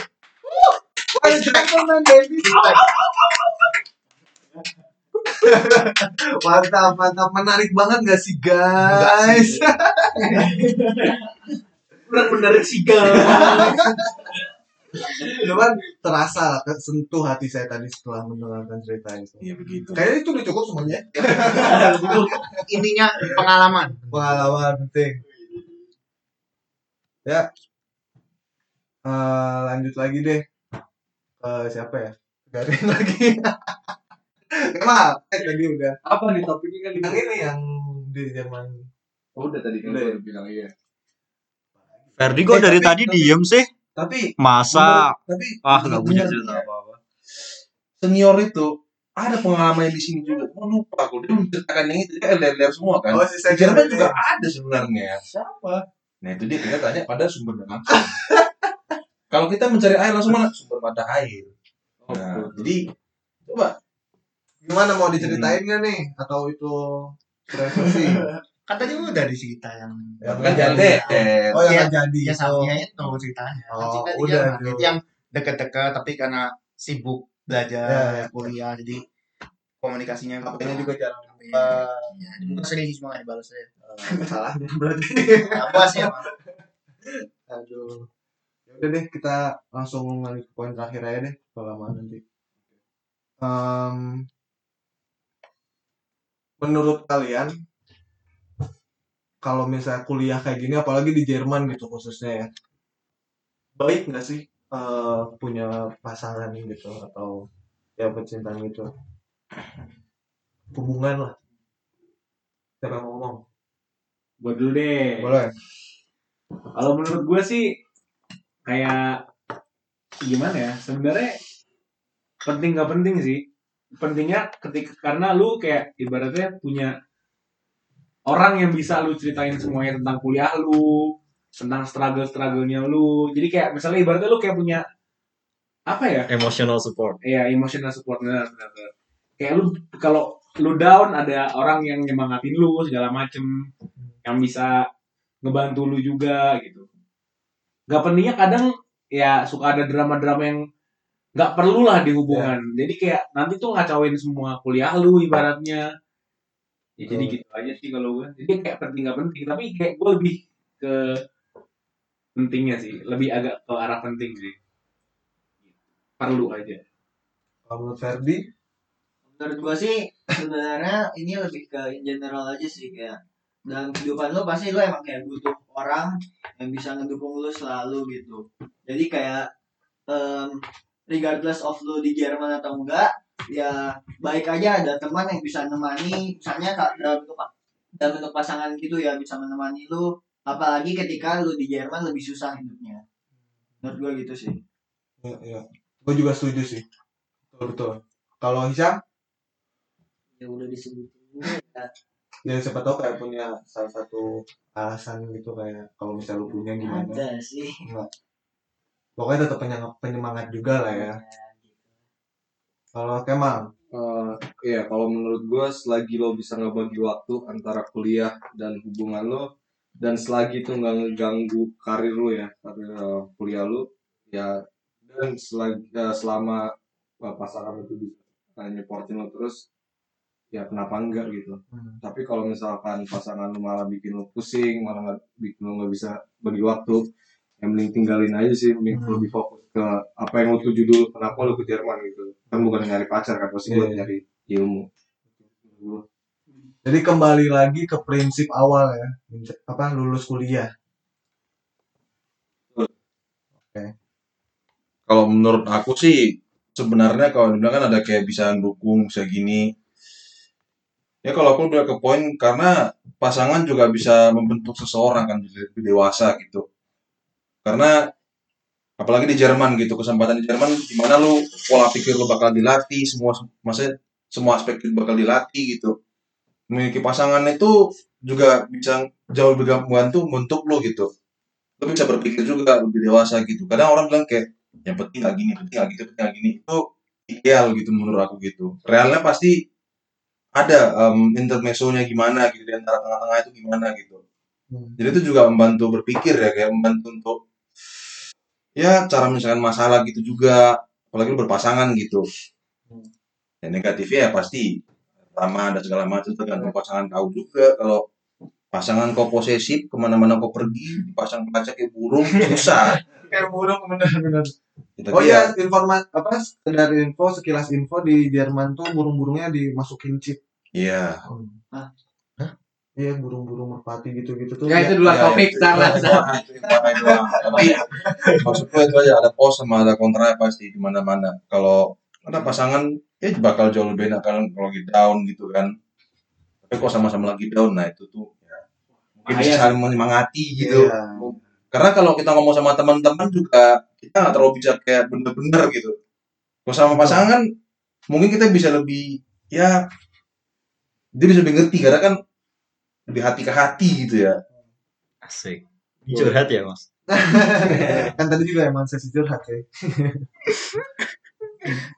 S1: Wah, gentleman, baby. mantap mantap menarik banget gak sih guys
S3: Kurang menarik sih gal.
S1: cuman terasa lah sentuh hati saya tadi setelah mendengarkan cerita itu
S5: Hmm.
S2: ya begitu
S1: kayaknya itu udah cukup semuanya
S7: intinya pengalaman
S1: pengalaman penting ya Eh, lanjut lagi deh Eh, siapa ya Garin lagi Kemal eh, tadi udah
S5: Apa nih topiknya
S1: yang
S5: kan?
S1: ini yang di zaman
S5: Oh, udah tadi kan
S1: Udah ya?
S5: gue bilang iya.
S6: Ferdi kok
S2: Eh,
S6: dari
S2: tapi-
S6: tadi
S2: tapi-
S6: diem sih?
S2: tapi
S6: Masa
S2: menurut- tapi
S6: ah nggak punya
S2: menurut-
S6: cerita apa-apa.
S2: senior itu ada pengalaman di sini juga. Gua lupa aku dia menceritakan yang itu dia LDR semua kan.
S1: oh si
S2: di
S1: saya
S2: Jerman juga ada sebenarnya. Siapa? Nah itu dia kita tanya pada sumber langsung. Kalau kita mencari air langsung mana? Sumber mata air.
S5: Oh,
S2: Nah,
S5: betul.
S2: jadi coba
S1: gimana mau diceritain nggak nih atau itu privasi
S7: kan tadi udah di cerita yang
S1: Ya,
S2: kan
S1: nggak
S2: jangan
S1: jadi.
S2: LDR.
S1: oh yang
S7: Iya.
S1: nggak jadi
S7: ya
S1: Oh.
S7: sama itu ceritanya Kan
S1: Oh,
S7: cerita di
S1: udah,
S7: Jerman.
S1: Jo.
S7: Jadi yang deket-deket tapi karena sibuk
S1: Ya,
S7: belajar
S1: ya.
S7: kuliah jadi komunikasinya
S1: HP-nya juga jarang
S7: Iya.
S1: eh,
S7: Ya, dibuka sendiri cuma nggak dibalas aja.
S1: gitu.
S7: ya,
S1: salahnya berarti
S7: Apa sih?
S1: aduh Ya udah deh kita langsung lanjut ke poin terakhir aja deh selama nanti. Em, menurut kalian kalau misalnya kuliah kayak gini apalagi di Jerman gitu khususnya ya baik nggak sih eh, punya pasangan gitu atau ya percintaan gitu hubungan lah siapa yang mau ngomong
S3: Gue dulu deh.
S1: boleh
S3: Kalau menurut gue sih kayak gimana ya? Sebenarnya penting nggak penting sih. Pentingnya ketika karena lu kayak ibaratnya punya orang yang bisa lu ceritain semuanya tentang kuliah lu, tentang struggle-strugglenya lu. Jadi kayak misalnya ibaratnya lu kayak punya apa ya?
S6: Emotional support.
S3: Iya, emotional support benar benar. benar. Kayak lu kalau lu down ada orang yang nyemangatin lu segala macem yang bisa ngebantu lu juga gitu. Gak pentingnya kadang ya suka ada drama-drama yang gak perlu lah di hubungan. Jadi kayak nanti tuh ngacauin semua kuliah lu ibaratnya. Ya jadi gitu aja sih kalau gue. Jadi kayak penting gak penting, tapi kayak gue lebih ke pentingnya sih, lebih agak ke arah penting sih. Perlu aja.
S1: kalau menurut Ferdi
S4: menurut gua sih sebenarnya ini lebih ke in general aja sih kayak dalam kehidupan lo pasti lo emang kayak butuh orang yang bisa ngedukung lo selalu gitu jadi kayak em, regardless of lo di Jerman atau enggak ya baik aja ada teman yang bisa nemani misalnya ka- dalam bentuk pa- dalam bentuk pasangan gitu ya bisa menemani lo apalagi ketika lo di Jerman lebih susah hidupnya menurut gua gitu sih
S1: ya, ya. gue juga setuju sih betul betul kalau Hisham
S4: ya udah disebutin
S1: ya siapa tahu kayak punya salah satu alasan gitu kayak kalau misalnya lu punya gimana
S4: ada sih
S1: pokoknya tetap penyang- penyemangat juga lah ya kalau Kemal
S5: Eh, Iya, kalau menurut gue selagi lo bisa ngebagi waktu antara kuliah dan hubungan lo dan selagi itu nggak ngeganggu karir lo ya karir eh, kuliah lo ya dan selagi eh, selama eh, pasangan itu bisa eh, nyeportin lo terus ya kenapa enggak gitu
S1: Hmm.
S5: tapi kalau misalkan pasangan lo malah bikin lo pusing malah nggak- bikin lo nggak bisa bagi waktu yang mending tinggalin aja sih mending
S1: Hmm.
S5: lebih fokus ke apa yang lo tuju dulu kenapa lo ke Jerman gitu kan bukan nyari pacar kan pasti buat
S1: Iya.
S5: nyari ilmu
S1: jadi kembali lagi ke prinsip awal ya Menc- apa lulus kuliah
S2: kalau menurut aku sih sebenarnya kalau dibilang kan ada kayak bisa dukung bisa gini ya kalau aku udah ke poin karena pasangan juga bisa membentuk seseorang kan jadi lebih dewasa gitu karena apalagi di Jerman gitu kesempatan di Jerman gimana lu pola pikir lu bakal dilatih semua maksudnya semua aspek lu bakal dilatih gitu memiliki pasangan itu juga bisa jauh lebih membantu untuk lu gitu lu bisa berpikir juga lebih dewasa gitu kadang orang bilang kayak yang penting gak gini, penting gak gitu, penting gak gini. Itu ideal gitu menurut aku gitu. Realnya pasti ada em intermezzonya gimana gitu di antara tengah-tengah itu gimana gitu.
S1: Hmm.
S2: Jadi itu juga membantu berpikir ya kayak membantu untuk ya cara menyelesaikan masalah gitu juga apalagi lu berpasangan gitu.
S1: Hmm.
S2: Ya negatifnya ya pasti lama ada segala macam tergantung
S1: Iya.
S2: pasangan kau juga kalau pasangan kau posesif kemana-mana kau pergi dipasang kaca kayak burung susah
S1: kayak burung bener-bener
S2: Tapi
S1: oh
S2: ya-
S1: iya informa apa sekedar info sekilas info di Jerman tuh burung-burungnya dimasukin chip
S2: iya
S4: Hah?
S1: iya burung-burung merpati gitu-gitu tuh ya,
S7: Ya itu dua
S2: Iya,
S7: topik
S2: itu-
S7: sana.
S2: itu doang, itu yang parah doang. Tapi maksud gue iya. itu aja ada pos sama ada kontra pasti di mana-mana. Kalau ada pasangan ya bakal jauh lebih enak kan kalau lagi down gitu kan. Tapi kalau sama-sama lagi down nah itu tuh ya, mungkin bisa
S3: Bahaya.
S2: saling menyemangati gitu.
S1: Iya.
S2: Karena kalau kita ngomong sama teman-teman juga kita nggak terlalu bisa kayak bener-bener gitu. Kalau sama pasangan kan, mungkin kita bisa lebih ya dia bisa lebih ngerti karena kan lebih hati ke hati gitu ya.
S6: Asik. Curhat ya mas.
S1: kan tadi juga emang sesi curhat ya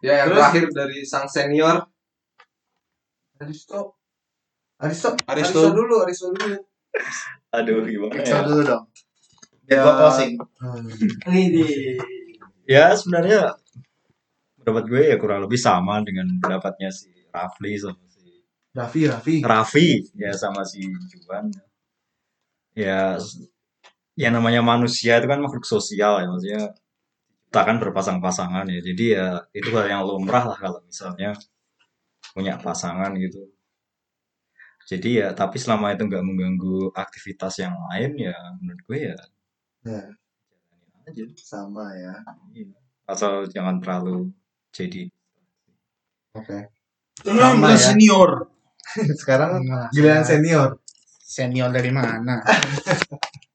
S5: Ya yang
S1: Terus?
S5: terakhir dari sang senior
S1: Aristo Aristo Aristo
S2: Aristo.
S1: dulu Aristo dulu
S6: Aduh gimana
S7: Excel
S6: ya?
S7: dulu dong.
S1: Ya.
S7: Ya. Gue closing.
S1: Hmm.
S4: Widih.
S6: Ya sebenarnya pendapat gue ya kurang lebih sama dengan pendapatnya si Rafli sama si
S1: Raffi Raffi
S6: Raffi ya sama si Juan ya s- yang namanya manusia itu kan makhluk sosial ya maksudnya kita kan berpasang-pasangan ya jadi ya itu hal yang lumrah lah kalau misalnya punya pasangan gitu jadi ya tapi selama itu nggak mengganggu aktivitas yang lain ya menurut gue ya
S1: Ya.
S6: jalanin aja
S1: sama ya
S6: Iya. asal jangan terlalu jadi
S1: oke
S2: Tenang,
S7: Sama ya.
S2: senior.
S1: sekarang
S7: Nah,
S1: giliran
S7: senior.
S1: senior
S7: senior dari mana?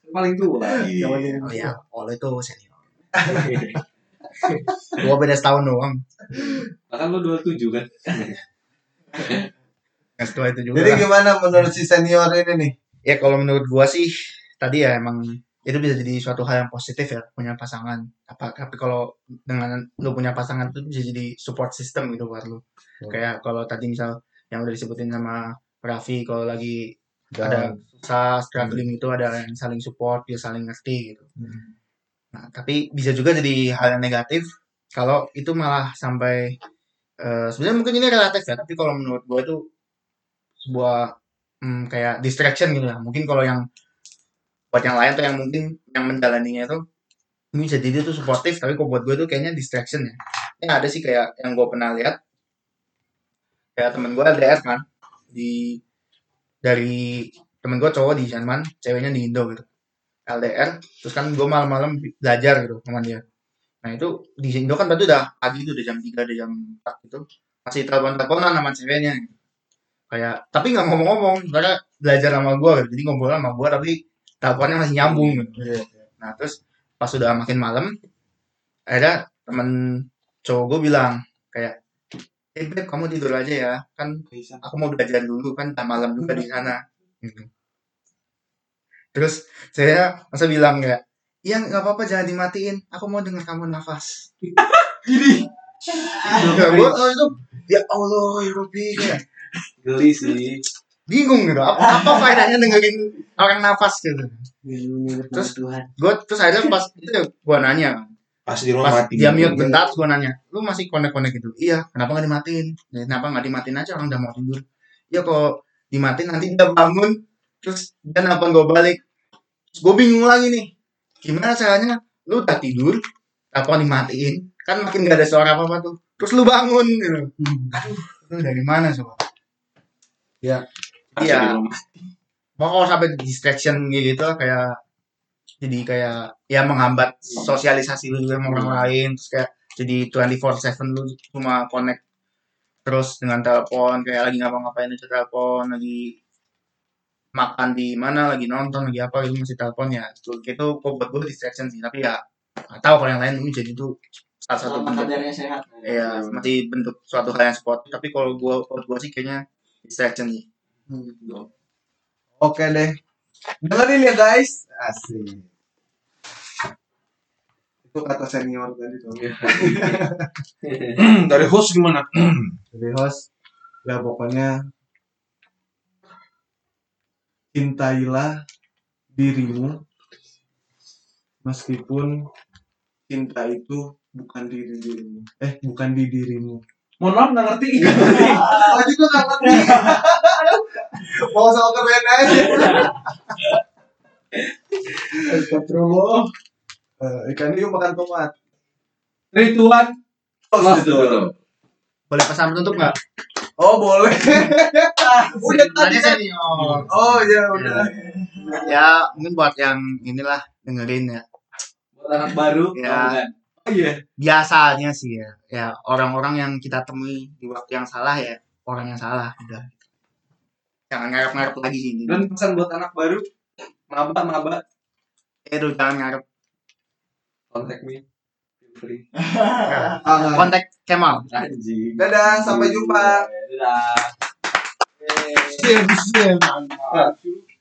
S2: Paling tua. Iya.
S7: Oh ya, oleh itu senior. Gua beda setahun doang.
S5: Bahkan lo 27 kan?
S7: Yang setelah itu juga.
S1: jadi gimana menurut si senior ini nih
S7: ya kalau menurut gua sih tadi ya emang itu bisa jadi suatu hal yang positif ya punya pasangan apa tapi kalau dengan lu punya pasangan itu bisa jadi support system gitu buat lu kayak kalau tadi misal yang udah disebutin sama Raffi kalau lagi ada susah struggling itu ada yang saling support dia saling ngerti gitu nah tapi bisa juga jadi hal yang negatif kalau itu malah sampai eh, sebenarnya mungkin ini relatif ya tapi kalau menurut gue itu sebuah mm, kayak distraction gitu lah mungkin kalau yang buat yang lain tuh yang mungkin yang menjalaninya itu ini bisa jadi tuh supportive tapi kalau buat gue tuh kayaknya distraction ya ya ada sih kayak yang gue pernah lihat kayak temen gue LDR kan di dari temen gue cowok di Jerman ceweknya di Indo gitu LDR terus kan gue malam-malam belajar gitu sama dia nah itu di Indo kan berarti udah pagi itu udah jam 3 udah jam 4 gitu masih telepon-teleponan sama ceweknya gitu. kayak tapi nggak ngomong-ngomong karena belajar sama gue gitu. jadi ngobrol sama gue tapi teleponnya masih nyambung gitu nah terus pas udah makin malam ada temen cowok gue bilang kayak eh beb kamu tidur aja ya kan aku mau belajar dulu kan tak malam juga di sana Gitu. terus saya masa bilang kayak iya nggak apa-apa jangan dimatiin aku mau dengar kamu nafas
S3: Gini.
S7: ya gue oh, itu ya Allah ya Rabbi kayak
S5: Geli sih.
S7: bingung gitu apa apa faedahnya dengerin orang nafas gitu Terus?
S4: Tuhan.
S7: gue terus akhirnya pas itu gue nanya
S2: Pas di rumah
S7: pas
S2: mati.
S7: dia mute bentar gue nanya lu masih connect connect gitu iya kenapa nggak dimatiin "Ya, kenapa nggak dimatiin aja orang udah mau tidur ya kalau dimatiin nanti dia bangun terus dia nelfon gue balik terus gue bingung lagi nih gimana caranya lu udah tidur apa dimatiin kan makin gak ada suara apa apa tuh terus lu bangun gitu
S2: Hmm.
S7: aduh lu dari mana coba
S2: Pas
S7: Iya.
S2: di rumah.
S7: mau kalau sampai distraction kayak gitu kayak jadi kayak ya menghambat sosialisasi lu juga sama orang lain terus kayak jadi 24/7 lu cuma connect terus dengan telepon kayak lagi ngapa-ngapain aja telepon lagi makan di mana lagi nonton lagi apa gitu masih telepon ya itu itu kok buat gue distraction sih tapi ya nggak tahu kalau yang lain mungkin jadi itu salah satu
S4: Kalau
S7: bentuk
S4: kadarnya sehat.
S7: ya masih bentuk suatu hal yang sport tapi kalau gue buat gue sih kayaknya distraction sih
S1: oke deh dengerin ya guys asik itu kata senior tadi tuh
S2: Dari host gimana?
S1: jadi host ya pokoknya cintailah dirimu meskipun cinta itu bukan diri dirimu eh bukan di dirimu
S3: Mohon maaf nggak ngerti.
S1: ah, lagi gue gak ngerti mau soal keren aja
S3: Astagfirullah.
S1: Eh, ikan hiu makan tomat
S3: Rituan.
S2: Host itu dulu.
S7: boleh pesan penutup nggak
S1: oh boleh udah tadi
S7: Tanya
S1: kan
S7: senior
S1: oh ya udah
S7: ya mungkin buat yang inilah dengerin ya
S5: Buat anak baru.
S7: Ya.
S5: oh, bukan.
S3: Oh iya.
S7: biasanya sih ya ya orang-orang yang kita temui di waktu yang salah ya orang yang salah udah jangan ngarep-ngarep lagi sih ini
S5: Dan pesan buat anak baru. Maba, maba.
S7: eh lu jangan ngarep
S5: Contact me. Feel free.
S1: Kangen.
S7: kontak Kemal
S5: Anjing.
S1: dadah sampai jumpa
S5: Dadah.
S1: Sip, sip.
S5: Mantap.